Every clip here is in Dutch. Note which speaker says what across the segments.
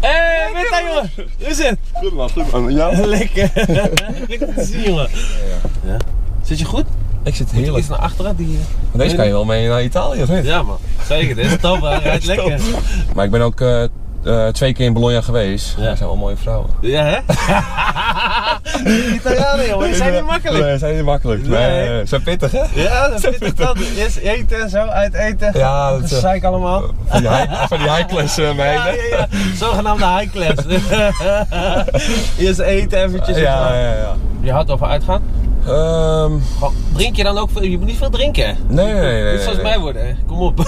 Speaker 1: Eh, jongen. Hoe is het?
Speaker 2: Goed man, goed man. Ja?
Speaker 1: Lekker. Lekker te zien, jongen. Ja. Zit je goed?
Speaker 3: Ik zit
Speaker 1: Moet je
Speaker 3: heerlijk.
Speaker 1: iets naar achteren? Die... eh?
Speaker 3: Maar deze kan je wel mee naar Italië, of niet?
Speaker 1: Ja, man. Zeker. Dit is top, hè. Rijdt lekker.
Speaker 3: Maar ik ben ook eh, eh, twee keer in Bologna geweest.
Speaker 1: Ja.
Speaker 3: Dat zijn wel mooie vrouwen.
Speaker 1: Ja, hè? Die Italianen, jongen. Die zijn niet makkelijk.
Speaker 3: Nee, zijn niet makkelijk.
Speaker 1: Nee.
Speaker 3: Nee. eh, ze zijn pittig, hè?
Speaker 1: Ja, dat vind ik dat. Eerst eten en zo, uit eten.
Speaker 3: Ja, dat,
Speaker 1: dat
Speaker 3: eh,
Speaker 1: zei ik allemaal.
Speaker 3: Van die, high- van die high-class eh,
Speaker 1: Ja,
Speaker 3: meiden.
Speaker 1: ja, ja. Zogenaamde high class. Eerst eten eventjes. en
Speaker 3: ja,
Speaker 1: zo.
Speaker 3: ja, ja.
Speaker 1: Je houdt over uitgaan?
Speaker 3: Ehm,
Speaker 1: Gewoon, Drink je dan ook veel? Je moet niet veel drinken. hè?
Speaker 3: nee, nee, nee.
Speaker 1: Dit is zoals
Speaker 3: nee.
Speaker 1: mij worden, hè. Kom op.
Speaker 3: Dan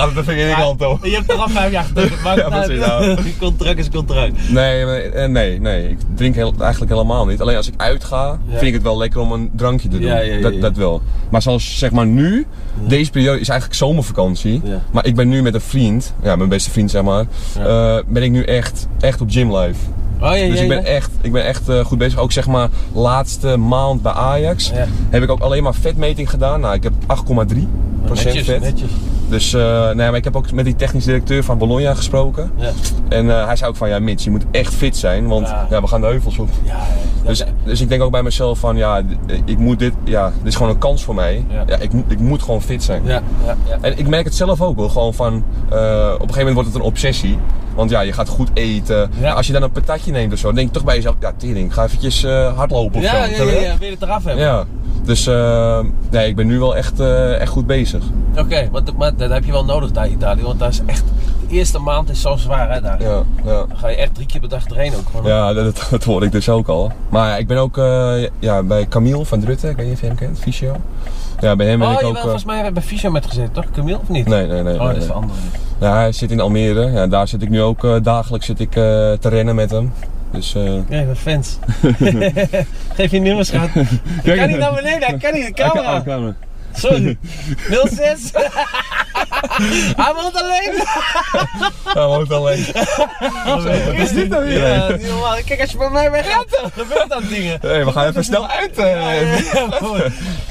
Speaker 3: gaat het de vinger in je hand, hoor.
Speaker 1: Je hebt er al vijf jaar gedronken. Maakt
Speaker 3: Ja,
Speaker 1: het uit.
Speaker 3: precies, Nou.
Speaker 1: Contract is contract.
Speaker 3: Nee, maar- eh, nee, nee. Ik drink heel- eigenlijk helemaal niet. Alleen als ik uitga,
Speaker 1: Ja.
Speaker 3: vind ik het wel lekker om een drankje te doen.
Speaker 1: Ja, ja, ja, ja.
Speaker 3: Dat, dat wel. Maar zoals zeg maar nu, deze periode is eigenlijk zomervakantie.
Speaker 1: Ja.
Speaker 3: Maar ik ben nu met een vriend, ja, mijn beste vriend zeg maar,
Speaker 1: Ja.
Speaker 3: eh, ben ik nu echt, echt op gymlife.
Speaker 1: Oh ja,
Speaker 3: Dus
Speaker 1: ja,
Speaker 3: ik ben
Speaker 1: ja.
Speaker 3: echt, ik ben echt eh, goed bezig. Ook zeg maar laatste maand bij Ajax
Speaker 1: Ja.
Speaker 3: heb ik ook alleen maar vetmeting gedaan. Nou, ik heb 8,3 procent
Speaker 1: netjes,
Speaker 3: vet.
Speaker 1: netjes.
Speaker 3: Dus eh, nee, maar ik heb ook met die technisch directeur van Bologna gesproken.
Speaker 1: Ja.
Speaker 3: En eh, hij zei ook van, ja Mitch, je moet echt fit zijn, want
Speaker 1: Ja.
Speaker 3: ja. we gaan de heuvels op.
Speaker 1: Ja, ja.
Speaker 3: Dus, dus ik denk ook bij mezelf van, ja, d- eh, ik moet dit, ja, dit is gewoon een kans voor mij.
Speaker 1: Ja.
Speaker 3: Ja. ik, moet- ik moet gewoon fit zijn.
Speaker 1: ja, ja, ja.
Speaker 3: En ik merk het zelf ook wel, gewoon van, eh, op een gegeven moment wordt het een obsessie. Want ja, je gaat goed eten.
Speaker 1: Ja.
Speaker 3: Als je dan een patatje neemt of zo, dan denk je toch bij jezelf, ja tering, ga eventjes eh, hardlopen of
Speaker 1: Ja,
Speaker 3: zo.
Speaker 1: ja, ja, ja, wil je het eraf hebben?
Speaker 3: Ja. Dus eh, nee, ik ben nu wel echt, eh, echt goed bezig.
Speaker 1: Oké, want- maar dat heb je wel nodig daar in Italië, want daar is echt, de eerste maand is zo zwaar hè daar.
Speaker 3: Ja, ja.
Speaker 1: Dan ga je echt drie keer per dag erheen ook gewoon.
Speaker 3: Ja, dat, dat, dat hoor ik dus ook al. Maar ja, ik ben ook eh, ja, bij Camille van Drutte, ik weet niet of je hem kent, fysio. Ja, bij hem ben
Speaker 1: oh,
Speaker 3: ik
Speaker 1: jawel,
Speaker 3: ook... eh,
Speaker 1: volgens mij hebben we bij Fysio met gezeten, toch? Camille of niet?
Speaker 3: Nee, nee, nee.
Speaker 1: Oh,
Speaker 3: nee,
Speaker 1: dat is
Speaker 3: nee.
Speaker 1: de andere.
Speaker 3: Ja, hij zit in Almere. Ja, daar zit ik nu ook eh, dagelijks zit ik, eh, te rennen met hem. Dus eh,
Speaker 1: Ja, ik ben fans. Geef je nummers, schat. Ik kan niet naar beneden, hij kan niet, de Ah, camera. Sorry. 06. Hij woont alleen.
Speaker 3: hij woont alleen.
Speaker 1: Wat
Speaker 3: is dit nou weer?
Speaker 1: Ja, niet normaal. Kijk, als je bij mij weggaat, dan gebeurt dat dingen.
Speaker 3: Hey, we gaan even snel uit. eh.
Speaker 1: Ja, mooi.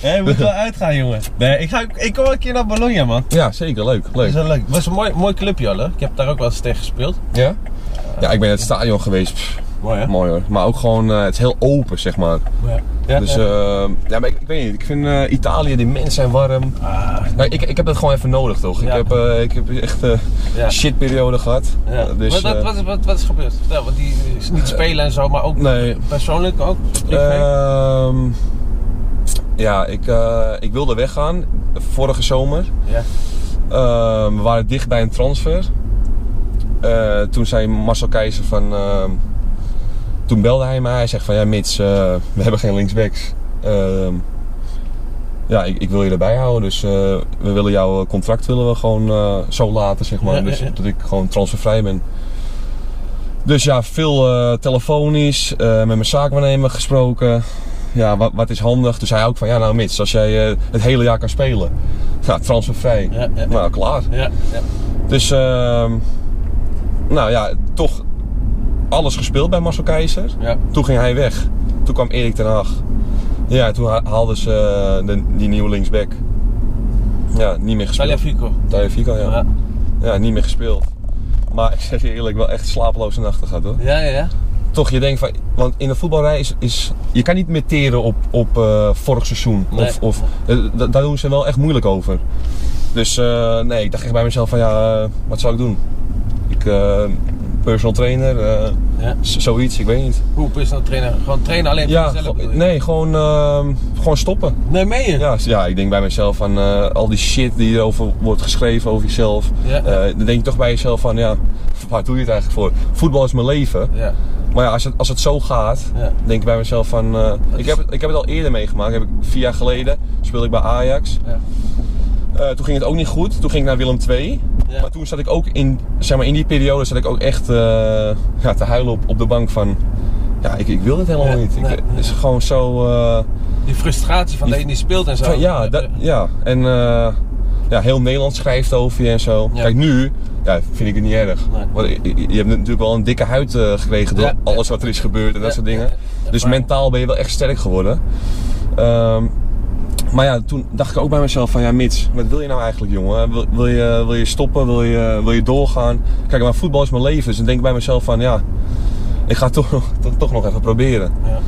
Speaker 1: Hé, je moet wel uitgaan, jongen. Nee, ik, ga, ik kom een keer naar Bologna, man.
Speaker 3: Ja, zeker. Leuk.
Speaker 1: Dat is
Speaker 3: leuk.
Speaker 1: wel leuk. Het was een mooi, mooi clubje, al, hè? Ik heb daar ook wel eens tegen gespeeld.
Speaker 3: Ja? ja, ik ben in het stadion geweest. Pff,
Speaker 1: Mooi, hè?
Speaker 3: mooi hoor. Maar ook gewoon, eh, het is heel open, zeg maar.
Speaker 1: Ja. Ja,
Speaker 3: Dus
Speaker 1: ja.
Speaker 3: eh, ja, maar ik, ik weet niet. Ik vind eh, Italië, die mensen zijn warm.
Speaker 1: Ah,
Speaker 3: Ja, ik, ik heb dat gewoon even nodig, toch?
Speaker 1: Ja.
Speaker 3: Ik, heb, eh, ik heb echt eh
Speaker 1: Ja.
Speaker 3: shitperiode gehad.
Speaker 1: ja.
Speaker 3: Eh,
Speaker 1: wat,
Speaker 3: Dus,
Speaker 1: wat,
Speaker 3: eh,
Speaker 1: wat, is- wat, wat is gebeurd? Vertel, want die is niet spelen en zo, maar ook
Speaker 3: nee.
Speaker 1: persoonlijk ook.
Speaker 3: Eh,
Speaker 1: privé.
Speaker 3: Ehm, ja, ik, eh, ik wilde weggaan vorige zomer.
Speaker 1: ja.
Speaker 3: Ehm, we waren dicht bij een transfer. Eh, toen zei Marcel Keizer van... ehm, toen belde hij mij. Hij zegt van, ja Mits, eh, we hebben geen linksbacks. Ehm, ja, ik, ik wil je erbij houden. Dus eh, we willen jouw contract willen we gewoon eh, zo laten, zeg maar.
Speaker 1: Ja, ja,
Speaker 3: dus
Speaker 1: ja.
Speaker 3: dat ik gewoon transfervrij ben. Dus ja, veel eh, telefonisch, eh, met mijn zaakwaarnemer gesproken. Ja, wat, wat is handig? Toen zei hij ook van, ja nou Mits, als jij eh, het hele jaar kan spelen. Ja, transfervrij.
Speaker 1: Ja, ja, ja.
Speaker 3: Nou, klaar.
Speaker 1: Ja, ja.
Speaker 3: Dus, ehm, nou ja, toch alles gespeeld bij Marcel Keizer.
Speaker 1: Ja.
Speaker 3: Toen ging hij weg. Toen kwam Erik ten Hag. Ja, toen ha- haalden ze eh, de, die nieuwe linksback. Ja, niet meer
Speaker 1: Talia
Speaker 3: gespeeld.
Speaker 1: Fico.
Speaker 3: Talia Fico, ja.
Speaker 1: Ja.
Speaker 3: Ja, niet meer gespeeld. Maar ik zeg je eerlijk, wel echt slapeloze nachten gehad hoor.
Speaker 1: Ja, ja, ja.
Speaker 3: Toch, je denkt van, want in de voetbalrij is, is je kan niet meer teren op, op eh, vorig seizoen.
Speaker 1: Nee.
Speaker 3: Of, of, eh, da- daar doen ze wel echt moeilijk over. Dus eh, nee, ik dacht echt bij mezelf van, ja, eh, wat zou ik doen? Ik, eh, personal trainer, eh,
Speaker 1: ja.
Speaker 3: z- zoiets, ik weet niet.
Speaker 1: Hoe is nou trainer? Gewoon trainen alleen voor
Speaker 3: Ja,
Speaker 1: jezelf? Eh,
Speaker 3: go-
Speaker 1: bedoel je?
Speaker 3: nee, gewoon, ehm, gewoon stoppen.
Speaker 1: Nee, meen je?
Speaker 3: Ja, s- ja, ik denk bij mezelf van eh, al die shit die erover wordt geschreven over jezelf.
Speaker 1: Ja.
Speaker 3: eh, dan denk je toch bij jezelf van, ja, waar doe je het eigenlijk voor? Voetbal is mijn leven.
Speaker 1: Ja.
Speaker 3: Maar ja, als het, als het zo gaat,
Speaker 1: Ja.
Speaker 3: denk ik bij mezelf van... eh, ik, heb, het- ik heb het al eerder meegemaakt. Heb ik, vier jaar geleden speelde ik bij Ajax.
Speaker 1: Ja.
Speaker 3: Eh, toen ging het ook niet goed. Toen ging ik naar Willem II.
Speaker 1: Ja.
Speaker 3: Maar toen zat ik ook in, zeg maar, in die periode zat ik ook echt eh, ja, te huilen op, op de bank van... Ja, ik, ik wil dit helemaal
Speaker 1: Ja,
Speaker 3: niet. Ik,
Speaker 1: nee, nee,
Speaker 3: het is
Speaker 1: nee.
Speaker 3: gewoon zo... eh,
Speaker 1: Die frustratie van
Speaker 3: Die-
Speaker 1: dat je niet speelt en zo.
Speaker 3: van, ja, dat, ja, en eh, ja, heel Nederland schrijft over je en zo.
Speaker 1: Ja.
Speaker 3: Kijk, nu ja, vind ik het niet erg.
Speaker 1: Nee.
Speaker 3: Want je, je hebt natuurlijk wel een dikke huid eh, gekregen door
Speaker 1: Ja.
Speaker 3: alles wat er is gebeurd en dat
Speaker 1: Ja.
Speaker 3: soort dingen.
Speaker 1: Ja.
Speaker 3: Dus
Speaker 1: Maar-
Speaker 3: mentaal ben je wel echt sterk geworden. Ehm, Maar ja, toen dacht ik ook bij mezelf van ja, Mits, wat wil je nou eigenlijk jongen? Wil, wil je, wil je stoppen? Wil je, wil je doorgaan? Kijk, maar voetbal is mijn leven. Dus ik denk bij mezelf van ja, ik ga het toch, nog- toch, toch nog even proberen.
Speaker 1: Ja.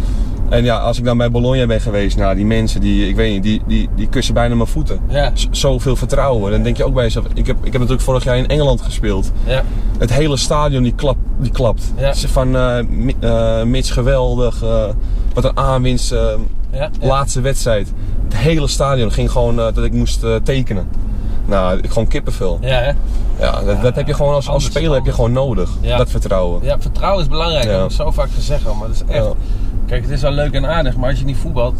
Speaker 3: En ja, als ik dan bij Bologna ben geweest, nou die mensen, die, ik weet niet, die, die, die kussen bijna mijn voeten.
Speaker 1: Ja.
Speaker 3: Z- Zoveel vertrouwen. Dan denk je ook bij jezelf, ik heb, ik heb natuurlijk vorig jaar in Engeland gespeeld.
Speaker 1: Ja.
Speaker 3: Het hele stadion die, klap, die klapt.
Speaker 1: Ja.
Speaker 3: Ze Van eh, Mi- eh, Mits geweldig, eh, wat een aanwinst. eh,
Speaker 1: Ja.
Speaker 3: ja. laatste wedstrijd. Het hele stadion ging gewoon eh, dat ik moest eh, tekenen. Nou, ik- gewoon kippenvel. Ja,
Speaker 1: Ja, hè?
Speaker 3: dat, dat heb je gewoon als, als
Speaker 1: Anders,
Speaker 3: speler heb je
Speaker 1: anders.
Speaker 3: gewoon nodig.
Speaker 1: Ja.
Speaker 3: Dat vertrouwen.
Speaker 1: ja, vertrouwen is belangrijk.
Speaker 3: Ja.
Speaker 1: Dat heb ik zo vaak gezegd al, maar dat is echt...
Speaker 3: Ja.
Speaker 1: Kijk, het is wel leuk en aardig, maar als je niet voetbalt,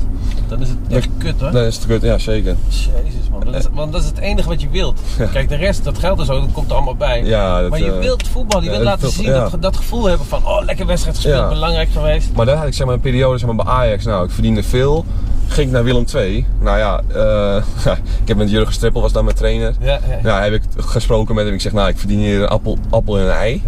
Speaker 1: dan is het echt kut, hoor.
Speaker 3: Dat is het kut, ja zeker.
Speaker 1: Jezus, man. Dat is, want dat is het enige wat je wilt. Kijk, de rest, dat geld en zo, dat komt er allemaal bij.
Speaker 3: Ja, dat,
Speaker 1: maar je
Speaker 3: eh,
Speaker 1: wilt voetbal, je
Speaker 3: ja,
Speaker 1: wilt
Speaker 3: dat
Speaker 1: laten
Speaker 3: toch-
Speaker 1: zien,
Speaker 3: ja.
Speaker 1: dat, dat gevoel hebben van... Oh, lekker wedstrijd gespeeld,
Speaker 3: Ja.
Speaker 1: belangrijk geweest.
Speaker 3: Maar dat had ik zeg maar een periode zeg maar, bij Ajax. Nou, ik verdiende veel. Ging ik naar Willem II. Nou ja, eh, ik heb met Jurgen Streppel, was dan mijn trainer.
Speaker 1: Ja, ja. ja.
Speaker 3: Nou, heb ik gesproken met hem. Ik zeg, nou, ik verdien hier een appel, appel en een ei.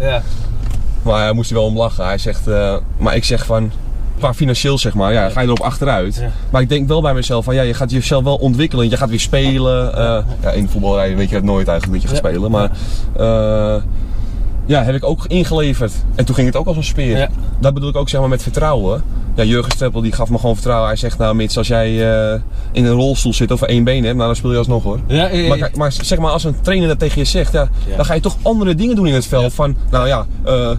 Speaker 3: Maar hij moest er wel om lachen. Hij zegt, eh, maar ik zeg van, qua financieel zeg maar, ja, ga je erop achteruit.
Speaker 1: Ja.
Speaker 3: Maar ik denk wel bij mezelf van, ja, je gaat jezelf wel ontwikkelen. Je gaat weer spelen. eh, ja, in de voetbalrij weet je dat nooit eigenlijk, dat je gaat
Speaker 1: Ja.
Speaker 3: spelen. Maar eh, ja, heb ik ook ingeleverd. En toen ging het ook als een speer.
Speaker 1: Ja.
Speaker 3: Dat bedoel ik ook zeg maar met vertrouwen. Ja, Jurgen Streppel die gaf me gewoon vertrouwen. Hij zegt, nou Mits, als jij eh, in een rolstoel zit of één been hebt, nou dan speel je alsnog hoor.
Speaker 1: Ja, ja, ja.
Speaker 3: Maar, kijk, maar zeg maar, als een trainer dat tegen je zegt, ja,
Speaker 1: Ja.
Speaker 3: dan ga je toch andere dingen doen in het veld. Van, nou ja, eh,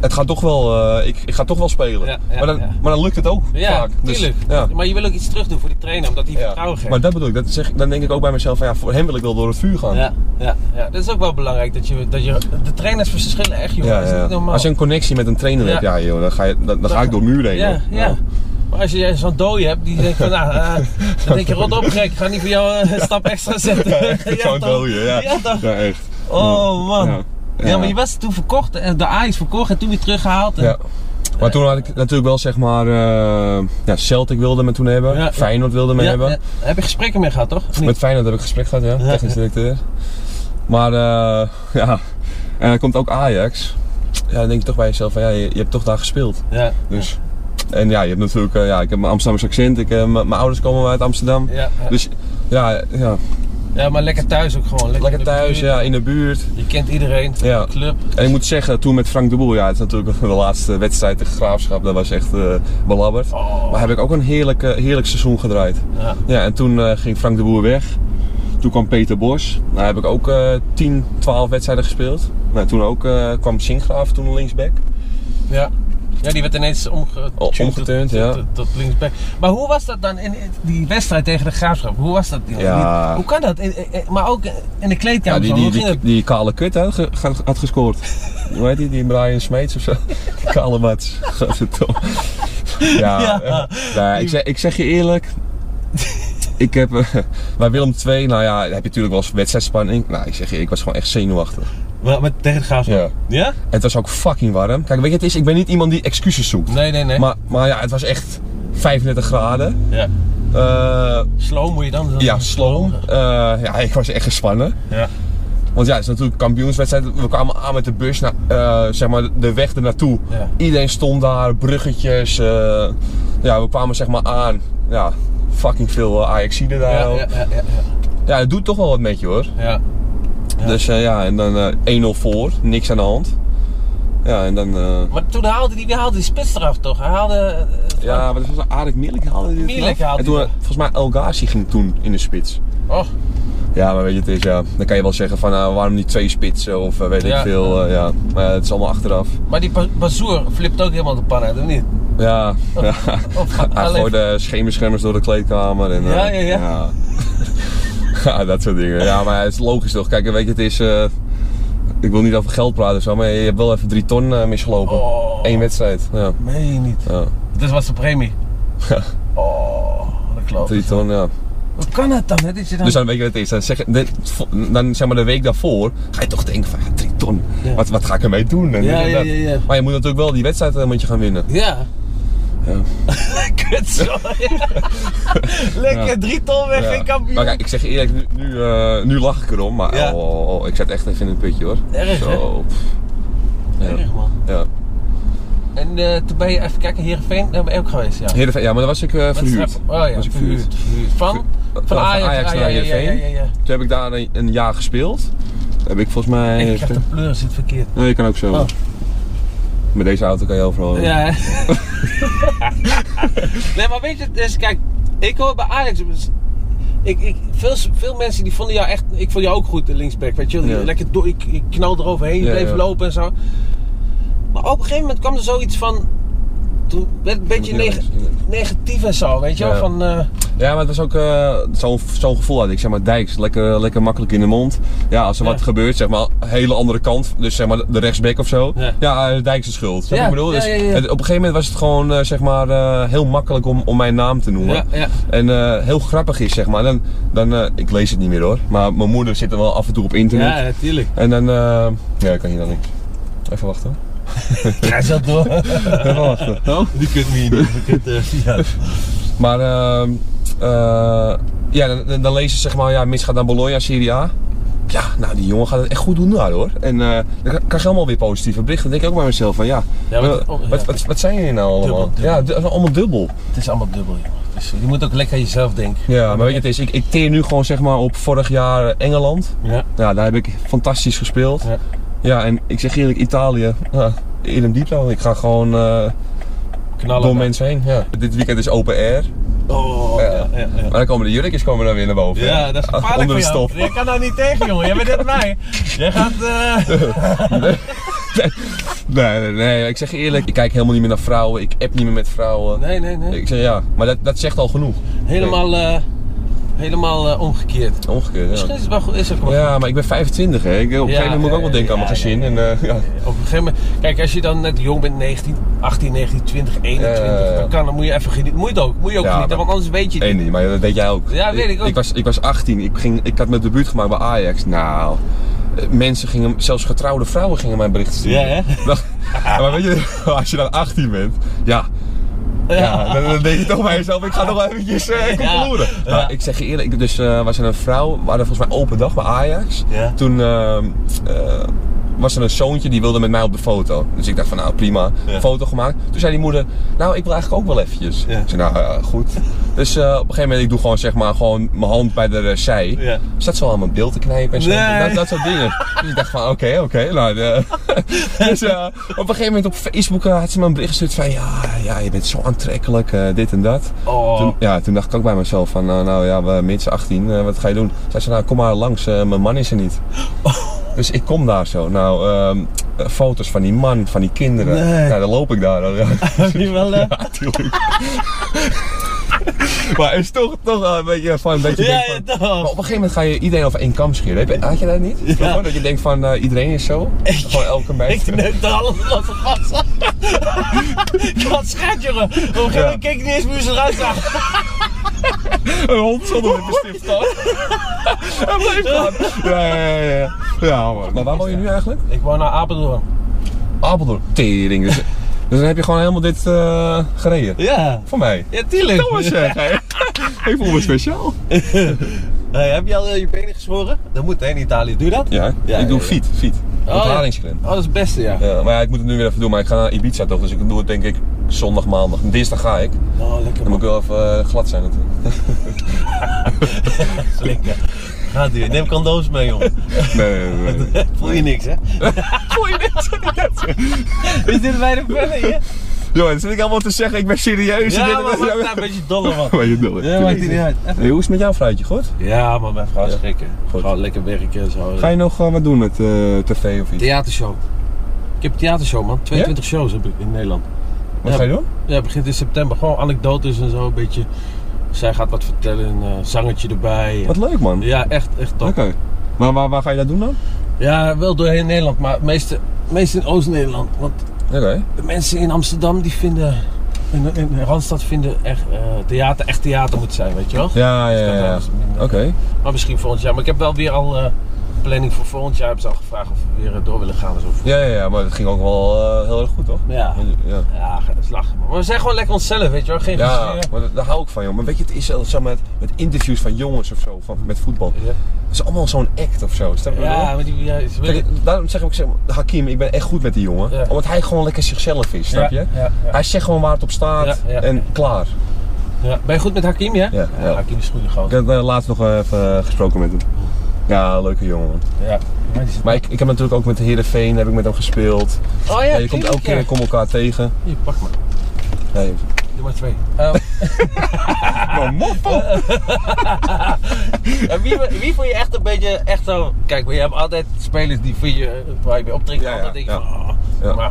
Speaker 3: het gaat toch wel, eh, ik, ik ga toch wel spelen.
Speaker 1: Ja, ja,
Speaker 3: maar, dan,
Speaker 1: ja.
Speaker 3: maar dan lukt het ook
Speaker 1: Ja,
Speaker 3: vaak. Dus,
Speaker 1: tuurlijk.
Speaker 3: ja.
Speaker 1: Maar je wil ook iets terug doen voor die trainer, omdat hij
Speaker 3: Ja.
Speaker 1: vertrouwen geeft.
Speaker 3: Maar dat bedoel ik, dat zeg, ik- dan denk ik ook bij mezelf van ja, voor hem wil ik wel door het vuur gaan.
Speaker 1: Ja, ja, ja, dat is ook wel belangrijk. Dat je, dat je, de trainers verschillen echt, joh.
Speaker 3: Ja,
Speaker 1: dat is
Speaker 3: ja.
Speaker 1: niet normaal.
Speaker 3: Als je een connectie met een trainer hebt, ja joh, dan ga, je, dan, dan ga ik door muren heen.
Speaker 1: ja, ja,
Speaker 3: joh.
Speaker 1: Maar als je zo'n dooi hebt, die denkt van, nou, eh, dan denk je, rot op gek, ik ga niet voor jou eh, een stap extra zetten.
Speaker 3: Ja,
Speaker 1: Ja, toch?
Speaker 3: Zo'n dode, ja.
Speaker 1: Ja, toch?
Speaker 3: Ja, echt.
Speaker 1: Oh, man.
Speaker 3: Ja.
Speaker 1: Ja.
Speaker 3: Ja.
Speaker 1: maar je was toen verkocht, eh, de Ajax verkocht en toen weer teruggehaald. En,
Speaker 3: Ja. Maar toen had ik natuurlijk wel zeg maar, eh, ja, Celtic wilde me toen hebben,
Speaker 1: Ja.
Speaker 3: Feyenoord wilde me
Speaker 1: Ja,
Speaker 3: hebben.
Speaker 1: ja. Heb je gesprekken mee gehad, toch? Of niet?
Speaker 3: Met Feyenoord heb ik gesprek gehad, ja.
Speaker 1: Ja.
Speaker 3: Technisch directeur. Maar eh, ja, en dan komt ook Ajax. Ja, dan denk je toch bij jezelf van ja, je, je hebt toch daar gespeeld.
Speaker 1: Ja.
Speaker 3: Dus. En ja, je hebt natuurlijk, eh, ja, ik heb mijn Amsterdamse accent. Ik, eh, m- mijn ouders komen uit Amsterdam.
Speaker 1: Ja, ja.
Speaker 3: Dus ja, ja,
Speaker 1: ja, maar lekker thuis ook gewoon. Lekker,
Speaker 3: lekker
Speaker 1: in de
Speaker 3: thuis,
Speaker 1: buurt.
Speaker 3: ja, in de buurt.
Speaker 1: Je kent iedereen,
Speaker 3: Ja.
Speaker 1: de club.
Speaker 3: En ik moet zeggen, toen met Frank de Boer, ja, het is natuurlijk de laatste wedstrijd tegen Graafschap. Dat was echt eh, belabberd.
Speaker 1: Oh.
Speaker 3: Maar heb ik ook een heerlijk, eh, heerlijk seizoen gedraaid.
Speaker 1: Ja.
Speaker 3: Ja, en toen eh, ging Frank de Boer weg. Toen kwam Peter Bos. Daar heb ik ook eh 10, 12 wedstrijden gespeeld. Nou, toen ook eh, kwam Singraaf, toen linksback.
Speaker 1: Ja. Ja, die werd ineens omge-
Speaker 3: O- omgeturnd,
Speaker 1: tot,
Speaker 3: ja.
Speaker 1: Tot, tot linksback. Maar hoe was dat dan in in die wedstrijd tegen de Graafschap? Hoe was dat? Die,
Speaker 3: Ja.
Speaker 1: die- hoe kan dat? In- in- maar ook in de
Speaker 3: Ja,
Speaker 1: kleedkamer.
Speaker 3: die,
Speaker 1: zo,
Speaker 3: die,
Speaker 1: hoe
Speaker 3: die,
Speaker 1: ging dat?
Speaker 3: die kale kut hè, ge- ge- had gescoord. Hoe heet die? Die Brian Smeets of zo? Kale Mats. Godverdomme. ja, eh, nou
Speaker 1: Ja.
Speaker 3: ja. ik, zeg, ik zeg je eerlijk. Ik heb eh, bij Willem II, nou ja, heb je natuurlijk wel eens wedstrijdspanning. Nou, ik zeg je, ik was gewoon echt zenuwachtig.
Speaker 1: Maar, maar tegen de Graafschap?
Speaker 3: Ja.
Speaker 1: Ja?
Speaker 3: En het was ook fucking warm. Kijk, weet je, het is, ik ben niet iemand die excuses zoekt.
Speaker 1: Nee, nee, nee.
Speaker 3: Maar, maar ja, het was echt 35 graden.
Speaker 1: ja.
Speaker 3: Eh,
Speaker 1: Slow moet je dan. dan-
Speaker 3: ja, sloom. Eh, ja, ik was echt gespannen.
Speaker 1: Ja.
Speaker 3: Want ja, het is natuurlijk een kampioenswedstrijd. We kwamen aan met de bus, naar, eh, zeg maar de weg ernaartoe.
Speaker 1: Ja.
Speaker 3: Iedereen stond daar, bruggetjes. eh, ja, we kwamen zeg maar aan. Ja, fucking veel eh, Ajaxiden daar.
Speaker 1: Ja,
Speaker 3: ook.
Speaker 1: ja, ja, ja,
Speaker 3: Ja, het doet toch wel wat met je hoor.
Speaker 1: ja. Ja.
Speaker 3: Dus eh, ja, en dan eh, 1-0 voor, niks aan de hand. Ja, en dan... eh,
Speaker 1: Maar toen haalde die, die haalde die spits eraf toch? Hij haalde. eh,
Speaker 3: ja, wat was dat? Arik Mielik haalde dit
Speaker 1: Milik
Speaker 3: af?
Speaker 1: haalde
Speaker 3: En toen,
Speaker 1: die
Speaker 3: eh, volgens mij El Ghazi ging toen in de spits.
Speaker 1: Oh,
Speaker 3: Ja, maar weet je, het is ja. Dan kan je wel zeggen van nou, waarom niet twee spitsen of eh, weet ik
Speaker 1: Ja.
Speaker 3: veel. eh, ja. Maar ja, het is allemaal achteraf.
Speaker 1: maar die Ba- Bazoer flipt ook helemaal de pan uit, of niet?
Speaker 3: Ja, ja.
Speaker 1: Of
Speaker 3: Hij
Speaker 1: alleen-
Speaker 3: gooide schemerschermers door de kleedkamer. En, eh,
Speaker 1: Ja, ja, ja.
Speaker 3: ja. Ja, dat soort dingen. Ja, maar het is logisch toch. Kijk, weet je, het is... eh, ik wil niet over geld praten of zo, maar je hebt wel even drie ton eh, misgelopen.
Speaker 1: Oh.
Speaker 3: Eén wedstrijd. Ja.
Speaker 1: Nee, niet.
Speaker 3: ja.
Speaker 1: Dus was de premie. oh, dat klopt.
Speaker 3: Drie ton, ja.
Speaker 1: Hoe kan dat dan? Hè? Dat je dan...
Speaker 3: Dus dan weet je wat het is. Dan zeg, dit- vo- dan zeg maar de week daarvoor ga je toch denken van ja, drie ton.
Speaker 1: Ja.
Speaker 3: Wat, wat ga ik ermee doen? En
Speaker 1: Ja,
Speaker 3: dit en
Speaker 1: ja,
Speaker 3: dat.
Speaker 1: ja, ja.
Speaker 3: Maar je moet natuurlijk wel die wedstrijd eh, moet je gaan winnen.
Speaker 1: Ja. Kut zo. Lekker
Speaker 3: Ja.
Speaker 1: drie ton weg, geen kampioen.
Speaker 3: Maar kijk, ik zeg je eerlijk, nu, nu, eh, nu lach ik erom, maar
Speaker 1: Ja.
Speaker 3: oh, oh, oh, ik zat echt even in een putje hoor.
Speaker 1: Erg, hè?
Speaker 3: Zo, pff. Ja.
Speaker 1: Erg, man.
Speaker 3: Ja.
Speaker 1: En eh, toen ben je even kijken, Heerenveen, daar ben je ook geweest, ja.
Speaker 3: Heerenveen- ja, maar dan was ik eh, verhuurd.
Speaker 1: Oh ja,
Speaker 3: was ik
Speaker 1: verhuurd. verhuurd. Van? Van Ajax, ah, ja,
Speaker 3: naar
Speaker 1: ja, ja,
Speaker 3: Heerenveen.
Speaker 1: ja, ja, ja.
Speaker 3: Toen heb ik daar een, een jaar gespeeld. Toen Heb ik volgens mij...
Speaker 1: Ik krijg de pleur, zit verkeerd.
Speaker 3: Nee, je kan ook zo.
Speaker 1: Oh.
Speaker 3: Met deze auto kan je overal.
Speaker 1: Ja. hè? nee, maar weet je, het is, kijk, ik hoor bij Ajax. dus Ik, ik, veel, veel mensen die vonden jou echt. Ik vond jou ook goed, de linksback. Weet je, wel.
Speaker 3: Ja.
Speaker 1: lekker door. Ik, ik knal eroverheen,
Speaker 3: Ja,
Speaker 1: bleef
Speaker 3: ja.
Speaker 1: lopen en zo. Maar op een gegeven moment kwam er zoiets van. Toen werd het een beetje
Speaker 3: moet hier
Speaker 1: neg-
Speaker 3: langs,
Speaker 1: negatief en zo, weet je wel?
Speaker 3: Ja.
Speaker 1: Van, eh,
Speaker 3: Ja, maar het was ook eh, zo'n zo'n gevoel had ik. Zeg maar, Dijks, lekker, lekker makkelijk in de mond. Ja, als er
Speaker 1: Ja.
Speaker 3: wat gebeurt, zeg maar, hele andere kant. Dus zeg maar, de rechtsback of zo.
Speaker 1: Ja.
Speaker 3: Ja, eh, Dijks is schuld. Snap je
Speaker 1: Ja,
Speaker 3: wat ik bedoel?
Speaker 1: ja,
Speaker 3: Dus
Speaker 1: ja, ja.
Speaker 3: het- op een gegeven moment was het gewoon, eh, zeg maar, eh, heel makkelijk om, om mijn naam te noemen.
Speaker 1: Ja, ja.
Speaker 3: En eh, heel grappig is, zeg maar. Dan, dan, eh, ik lees het niet meer hoor. Maar mijn moeder zit er wel af en toe op internet.
Speaker 1: ja, natuurlijk.
Speaker 3: En dan, eh, ja, ik kan hier dan niks. Even wachten.
Speaker 1: Ga zo door.
Speaker 3: Even wachten.
Speaker 1: Oh, Die kunt me niet. Die kunt, eh, ja.
Speaker 3: Maar ehm, eh, ja, dan, dan- dan lezen ze zeg maar, ja, Mits gaat naar Bologna, Serie A. Ja, nou die jongen gaat het echt goed doen daar hoor. En eh dan krijg je allemaal weer positieve berichten. Dan denk ik ook bij mezelf van ja,
Speaker 1: Ja, maar-
Speaker 3: eh,
Speaker 1: oh, ja.
Speaker 3: Wat, wat, wat zijn jullie nou allemaal?
Speaker 1: Dubbel, dubbel.
Speaker 3: Ja, du- allemaal dubbel.
Speaker 1: Het is allemaal dubbel, joh. Dus je moet ook lekker aan jezelf denken.
Speaker 3: Ja, maar weet je het is, ik, ik teer nu gewoon zeg maar op vorig jaar eh, Engeland.
Speaker 1: Ja.
Speaker 3: Ja, daar heb ik fantastisch gespeeld.
Speaker 1: Ja.
Speaker 3: Ja, en ik zeg eerlijk, Italië, ja, in een diepte. Ik ga gewoon eh,
Speaker 1: Knallen.
Speaker 3: door mensen heen. Ja. Dit weekend is open air.
Speaker 1: Oh, ja, ja, ja.
Speaker 3: Maar dan komen de jurkjes komen dan weer naar boven. hè?
Speaker 1: Ja, dat is gevaarlijk
Speaker 3: Onder
Speaker 1: voor
Speaker 3: de
Speaker 1: jou.
Speaker 3: stof.
Speaker 1: Je kan daar niet tegen, jongen. Jij bent net mij. Jij gaat... eh,
Speaker 3: Nee, nee, nee, ik zeg je eerlijk, ik kijk helemaal niet meer naar vrouwen, ik app niet meer met vrouwen.
Speaker 1: Nee, nee, nee.
Speaker 3: Ik zeg ja, maar dat, dat zegt al genoeg.
Speaker 1: Helemaal, eh, helemaal eh, omgekeerd.
Speaker 3: Omgekeerd,
Speaker 1: Misschien
Speaker 3: ja.
Speaker 1: is het wel goed. Is ook wel
Speaker 3: Ja, maar ik ben 25 hè, ik, op een gegeven moment moet ik ook wel
Speaker 1: ja,
Speaker 3: denken aan mijn
Speaker 1: ja,
Speaker 3: gezin. En, eh, ja.
Speaker 1: goed. Op een gegeven moment... Kijk, als je dan net jong bent, 19, 18, 19, 20, 21,
Speaker 3: Ja, ja, ja.
Speaker 1: dan, kan, dan moet je even genieten. Moet je het ook, moet je ook
Speaker 3: Ja,
Speaker 1: genieten,
Speaker 3: maar-
Speaker 1: want anders weet je het
Speaker 3: Nee,
Speaker 1: niet.
Speaker 3: nee, maar dat weet jij ook.
Speaker 1: Ja, weet ik ook.
Speaker 3: Ik was, ik was 18, ik, ging, ik had mijn debuut gemaakt bij Ajax. Nou, eh, mensen gingen, zelfs getrouwde vrouwen gingen mijn berichten sturen.
Speaker 1: Ja, hè?
Speaker 3: Dat- ja, maar weet je, als je dan 18 bent, ja, Ja, dan, dan denk je toch bij jezelf, ik ga nog wel eventjes eh concluren.
Speaker 1: Ja.
Speaker 3: Maar ik zeg je eerlijk, ik- dus eh, was er een vrouw, we hadden volgens mij open dag bij Ajax.
Speaker 1: Ja.
Speaker 3: Toen eh, eh, was er een zoontje die wilde met mij op de foto. Dus ik dacht van nou prima,
Speaker 1: Ja.
Speaker 3: foto gemaakt. Toen zei die moeder, nou ik wil eigenlijk ook wel eventjes.
Speaker 1: Ja.
Speaker 3: Ik zei nou ja, goed. Dus eh, op een gegeven moment, ik doe gewoon zeg maar gewoon mijn hand bij de eh, zij.
Speaker 1: Ja.
Speaker 3: Zat ze al aan mijn beeld te knijpen en zo.
Speaker 1: Nee.
Speaker 3: Dat, dat soort dingen. Dus ik dacht van oké, oké. nou, de- dus eh, op een gegeven moment op Facebook eh, had ze me een bericht gestuurd van ja, ja je bent zo aantrekkelijk, eh, dit en dat.
Speaker 1: Oh.
Speaker 3: Toen, ja, toen dacht ik ook bij mezelf van eh, nou ja, we mits 18, eh, wat ga je doen? Zei ze nou kom maar langs, eh, mijn man is er niet.
Speaker 1: Oh.
Speaker 3: Dus ik kom daar zo. Nou, ehm, eh, foto's van die man, van die kinderen.
Speaker 1: Nee.
Speaker 3: Nou, dan loop ik daar. dan, ja.
Speaker 1: Heb je wel... eh,
Speaker 3: Ja, tuurlijk. maar het is toch, toch wel een beetje van een beetje
Speaker 1: Ja,
Speaker 3: denk van-
Speaker 1: ja,
Speaker 3: maar
Speaker 1: toch.
Speaker 3: op een gegeven moment ga je iedereen over één kam scheren. Heb je- Had je dat niet? Vroeger? Dat je denkt van eh, iedereen is zo. Gewoon elke meid.
Speaker 1: Ik neukte alles losse gasten. Ik had schat, jongen. Op een gegeven moment
Speaker 3: Ja.
Speaker 1: keek ik niet eens meer hoe ze eruit zag.
Speaker 3: Een hond zonder een bestift Hij blijft gaan. Ja, ja, ja. ja. ja man. Maar waar woon je nu eigenlijk?
Speaker 1: Ik woon naar Apeldoorn.
Speaker 3: Apeldoorn. Tering. Dus, dus dan heb je gewoon helemaal dit eh, gereden.
Speaker 1: Ja.
Speaker 3: Voor mij.
Speaker 1: Ja, tuurlijk.
Speaker 3: Thomas zeg. hè. Ik voel me speciaal.
Speaker 1: Hey, heb je al eh, je benen geschoren? Dat moet hè in Italië. Doe je dat?
Speaker 3: Ja,
Speaker 1: Ja,
Speaker 3: ik doe
Speaker 1: ja, ja.
Speaker 3: fiet. Fiet. Ontharingscreme.
Speaker 1: Oh, dat is het beste, ja.
Speaker 3: Ja, Eh, maar ja, ik moet het nu weer even doen. Maar ik ga naar Ibiza toch. Dus ik doe het denk ik zondag, maandag. Dinsdag ga ik. Dan
Speaker 1: Oh, lekker
Speaker 3: moet ik
Speaker 1: man.
Speaker 3: wel even eh, glad zijn natuurlijk.
Speaker 1: Lekker. Ga duur. Neem condooms mee, jongen.
Speaker 3: Nee, nee, nee.
Speaker 1: Voel je niks, hè?
Speaker 3: Voel je dit?
Speaker 1: Is dit bij de bellen, hè?
Speaker 3: Joh, dat zit ik allemaal te zeggen. Ik ben serieus.
Speaker 1: Ja, maar
Speaker 3: maar,
Speaker 1: maakt daar een beetje dolle, man.
Speaker 3: je dolle.
Speaker 1: Ja, maakt die niet uit. Even-
Speaker 3: Hey, hoe is het met jouw fruitje? Goed?
Speaker 1: Ja, maar mijn vrouw is schrikken.
Speaker 3: Goed.
Speaker 1: Gewoon lekker werken en zo.
Speaker 3: Ga je nog eh, wat doen met eh, tv of iets?
Speaker 1: Theatershow. Ik heb een theatershow, man. 22 shows heb ik in Nederland.
Speaker 3: Wat
Speaker 1: Ja.
Speaker 3: ga je doen?
Speaker 1: Ja, het begint in september. Gewoon anekdotes en zo, een beetje. Zij gaat wat vertellen, een eh, zangetje erbij.
Speaker 3: Wat leuk man.
Speaker 1: Ja, echt, echt top.
Speaker 3: Oké. Maar waar, waar ga je dat doen dan?
Speaker 1: Ja, wel door heel Nederland, maar het meeste, het meeste in Oost-Nederland. Want
Speaker 3: Oké.
Speaker 1: de mensen in Amsterdam, die vinden, in, in Randstad vinden echt eh, theater, echt theater moet zijn, weet je wel.
Speaker 3: Ja, ja, ja.
Speaker 1: Dat
Speaker 3: ja.
Speaker 1: is minder.
Speaker 3: Oké.
Speaker 1: Maar misschien volgend jaar. Maar ik heb wel weer al eh, planning voor volgend jaar. Hebben ze al gevraagd of we weer eh, door willen gaan. en zo.
Speaker 3: Ja, ja, ja. Maar het ging ook wel eh, heel erg goed, toch?
Speaker 1: Ja.
Speaker 3: Ja.
Speaker 1: Ja, dat is lachen. man. Maar we zijn gewoon lekker onszelf, weet je wel. Geen
Speaker 3: Ja,
Speaker 1: gezeer.
Speaker 3: maar daar- daar hou ik van, joh. Maar weet je, het is zo met, met interviews van jongens of zo, van, met voetbal.
Speaker 1: Ja.
Speaker 3: Het is allemaal zo'n act of zo. Snap je wat ik bedoel?
Speaker 1: Ja, maar die, ja, ze willen-
Speaker 3: Kijk, daarom zeg ik ook, zeg, maar, Hakim, ik ben echt goed met die jongen.
Speaker 1: Ja.
Speaker 3: Omdat hij gewoon lekker zichzelf is, snap je?
Speaker 1: Ja, ja, ja.
Speaker 3: Hij zegt gewoon waar het op staat
Speaker 1: Ja, ja.
Speaker 3: en klaar.
Speaker 1: Ja. Ben je goed met Hakim, ja?
Speaker 3: Ja, ja.
Speaker 1: Hakim is een goede
Speaker 3: Ik
Speaker 1: gozer.
Speaker 3: heb eh, laatst nog even eh, gesproken met hem. Ja, leuke jongen. man.
Speaker 1: Ja. Maar die zit-
Speaker 3: Maar ik, ik heb natuurlijk ook met Heerenveen heb ik met hem gespeeld.
Speaker 1: Oh ja,
Speaker 3: Ja, je komt elke
Speaker 1: tuurlijk,
Speaker 3: keer
Speaker 1: ja.
Speaker 3: kom elkaar tegen.
Speaker 1: Hier, pak maar.
Speaker 3: Nee,
Speaker 1: Doe maar twee. Ehm, Ah, en wie, wie vond je echt een beetje, echt zo... Kijk, maar je hebt altijd spelers die voor je, waar je mee optrekt.
Speaker 3: Ja, ja,
Speaker 1: altijd denk je
Speaker 3: ja.
Speaker 1: van, oh,
Speaker 3: Ja.
Speaker 1: maar...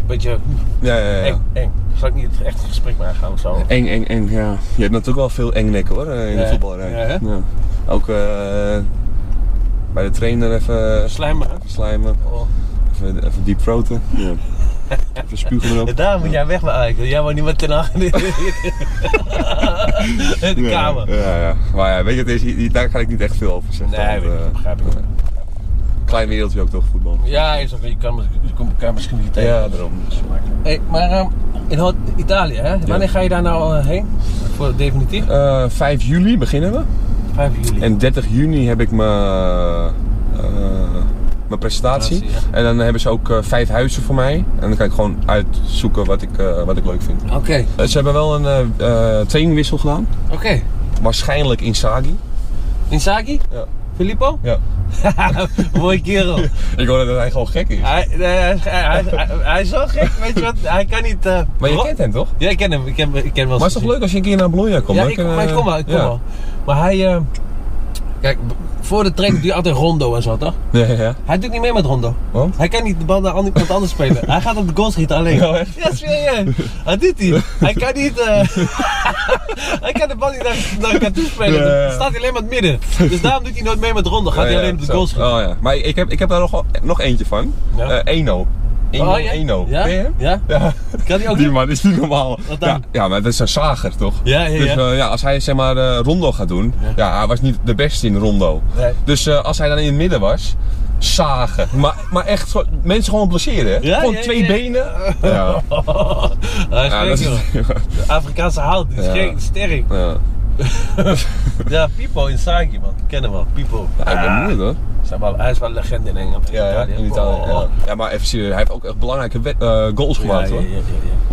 Speaker 1: Een beetje
Speaker 3: ja, ja, ja.
Speaker 1: eng, eng. Zal ik niet echt een gesprek mee aangaan of zo?
Speaker 3: Eng, eng, eng, ja. Je hebt natuurlijk wel veel engnekken hoor, eh, in
Speaker 1: Ja.
Speaker 3: de voetbalrij.
Speaker 1: Ja, hè?
Speaker 3: Ook eh, bij de trainer even
Speaker 1: Slijmen, hè?
Speaker 3: slijmen,
Speaker 1: Oh.
Speaker 3: even, even diep proten. Ja. Even spugen erop.
Speaker 1: Ja, daar moet jij weg met Ajax. Jij wordt niet met ten Hag in de in de
Speaker 3: Ja,
Speaker 1: kamer.
Speaker 3: Ja, ja. Maar ja, weet je, het is, hier- daar ga ik niet echt veel over zeggen.
Speaker 1: Nee,
Speaker 3: want,
Speaker 1: weet ik,
Speaker 3: eh,
Speaker 1: begrijp ik.
Speaker 3: Klein wereldje ook toch, voetbal.
Speaker 1: Ja, is oké. Je kan, je komt elkaar misschien niet tegen.
Speaker 3: Ja, daarom.
Speaker 1: Hey, maar ehm, in Ho- Italië, hè? Wanneer ga je daar nou eh, heen? Voor definitief?
Speaker 3: Eh, 5 juli beginnen we.
Speaker 1: 5 juli.
Speaker 3: En 30 juni heb ik mijn, eh, mijn presentatie.
Speaker 1: Presentatie,
Speaker 3: En dan hebben ze ook eh, vijf huizen voor mij. En dan kan ik gewoon uitzoeken wat ik, eh, wat ik leuk vind.
Speaker 1: Oké,
Speaker 3: Eh, Ze hebben wel een eh, eh, trainingwissel gedaan.
Speaker 1: oké.
Speaker 3: Waarschijnlijk in Sagi.
Speaker 1: Inzaghi?
Speaker 3: Ja.
Speaker 1: Filippo?
Speaker 3: ja.
Speaker 1: Mooi kerel.
Speaker 3: Ik hoorde dat hij gewoon gek is.
Speaker 1: Hij, nee, hij, is- hij, hij, hij is zo gek, weet je wat? Hij kan niet... eh,
Speaker 3: Maar je
Speaker 1: ro-
Speaker 3: kent hem toch?
Speaker 1: Ja, ik ken hem. Ik ken, ik ken hem wel
Speaker 3: Maar
Speaker 1: eens
Speaker 3: het is
Speaker 1: gezien.
Speaker 3: toch leuk als je een keer naar Bologna komt?
Speaker 1: Ja,
Speaker 3: Dan
Speaker 1: ik,
Speaker 3: kunnen-
Speaker 1: maar ik kom wel, ik kom
Speaker 3: ja.
Speaker 1: wel. Maar hij... eh, kijk, b- voor de training doet hij altijd rondo en zo, toch?
Speaker 3: Ja, ja, ja.
Speaker 1: Hij doet niet mee met rondo.
Speaker 3: Want?
Speaker 1: Hij kan niet de bal naar an- iemand anders spelen. Hij gaat op de goal schieten alleen.
Speaker 3: Ja, Oh, echt?
Speaker 1: Ja, serieus. Dat doet hij. Hij kan niet... eh, hij kan de bal niet naar, naar elkaar toe spelen.
Speaker 3: Ja, ja, ja.
Speaker 1: Dan staat hij alleen maar in het midden. Dus daarom doet hij nooit mee met rondo. Gaat
Speaker 3: Ja,
Speaker 1: hij
Speaker 3: ja,
Speaker 1: alleen op de
Speaker 3: zo.
Speaker 1: goal schieten.
Speaker 3: Oh ja. Maar ik heb, ik heb daar nog, wel- nog eentje van.
Speaker 1: Ja. Oh,
Speaker 3: Eh, Eno. Eno,
Speaker 1: ja?
Speaker 3: Eno.
Speaker 1: Ja?
Speaker 3: Ken je hem?
Speaker 1: Ja?
Speaker 3: Ja.
Speaker 1: Kan hij ook
Speaker 3: Die
Speaker 1: niet?
Speaker 3: man is niet normaal.
Speaker 1: Wat dan?
Speaker 3: Ja, ja, maar dat is een zager toch?
Speaker 1: Ja, ja,
Speaker 3: Dus
Speaker 1: ja.
Speaker 3: eh, ja, als hij zeg maar eh, rondo gaat doen,
Speaker 1: Ja.
Speaker 3: ja. hij was niet de beste in rondo.
Speaker 1: Nee.
Speaker 3: Dus eh, als hij dan in het midden was, zagen. Maar, maar echt, zo- mensen gewoon blesseren. hè?
Speaker 1: Ja,
Speaker 3: gewoon
Speaker 1: ja,
Speaker 3: twee
Speaker 1: ja.
Speaker 3: benen. Ja,
Speaker 1: hij is
Speaker 3: ja,
Speaker 1: gek,
Speaker 3: dat is.
Speaker 1: joh. De Afrikaanse hout. Die is
Speaker 3: Ja.
Speaker 1: gek, sterk.
Speaker 3: Ja.
Speaker 1: Ja, Pipo in Sagi, man. Kennen we wel. Pipo.
Speaker 3: Ja, ik ben benieuwd hoor.
Speaker 1: Zijn wel, hij is wel een legende in Engeland.
Speaker 3: Ja, ja, in Italië.
Speaker 1: Oh.
Speaker 3: Ja. ja, maar even serieus, hij heeft ook echt belangrijke wet- eh, goals
Speaker 1: Ja,
Speaker 3: gemaakt
Speaker 1: ja,
Speaker 3: hoor.
Speaker 1: ja, ja, ja.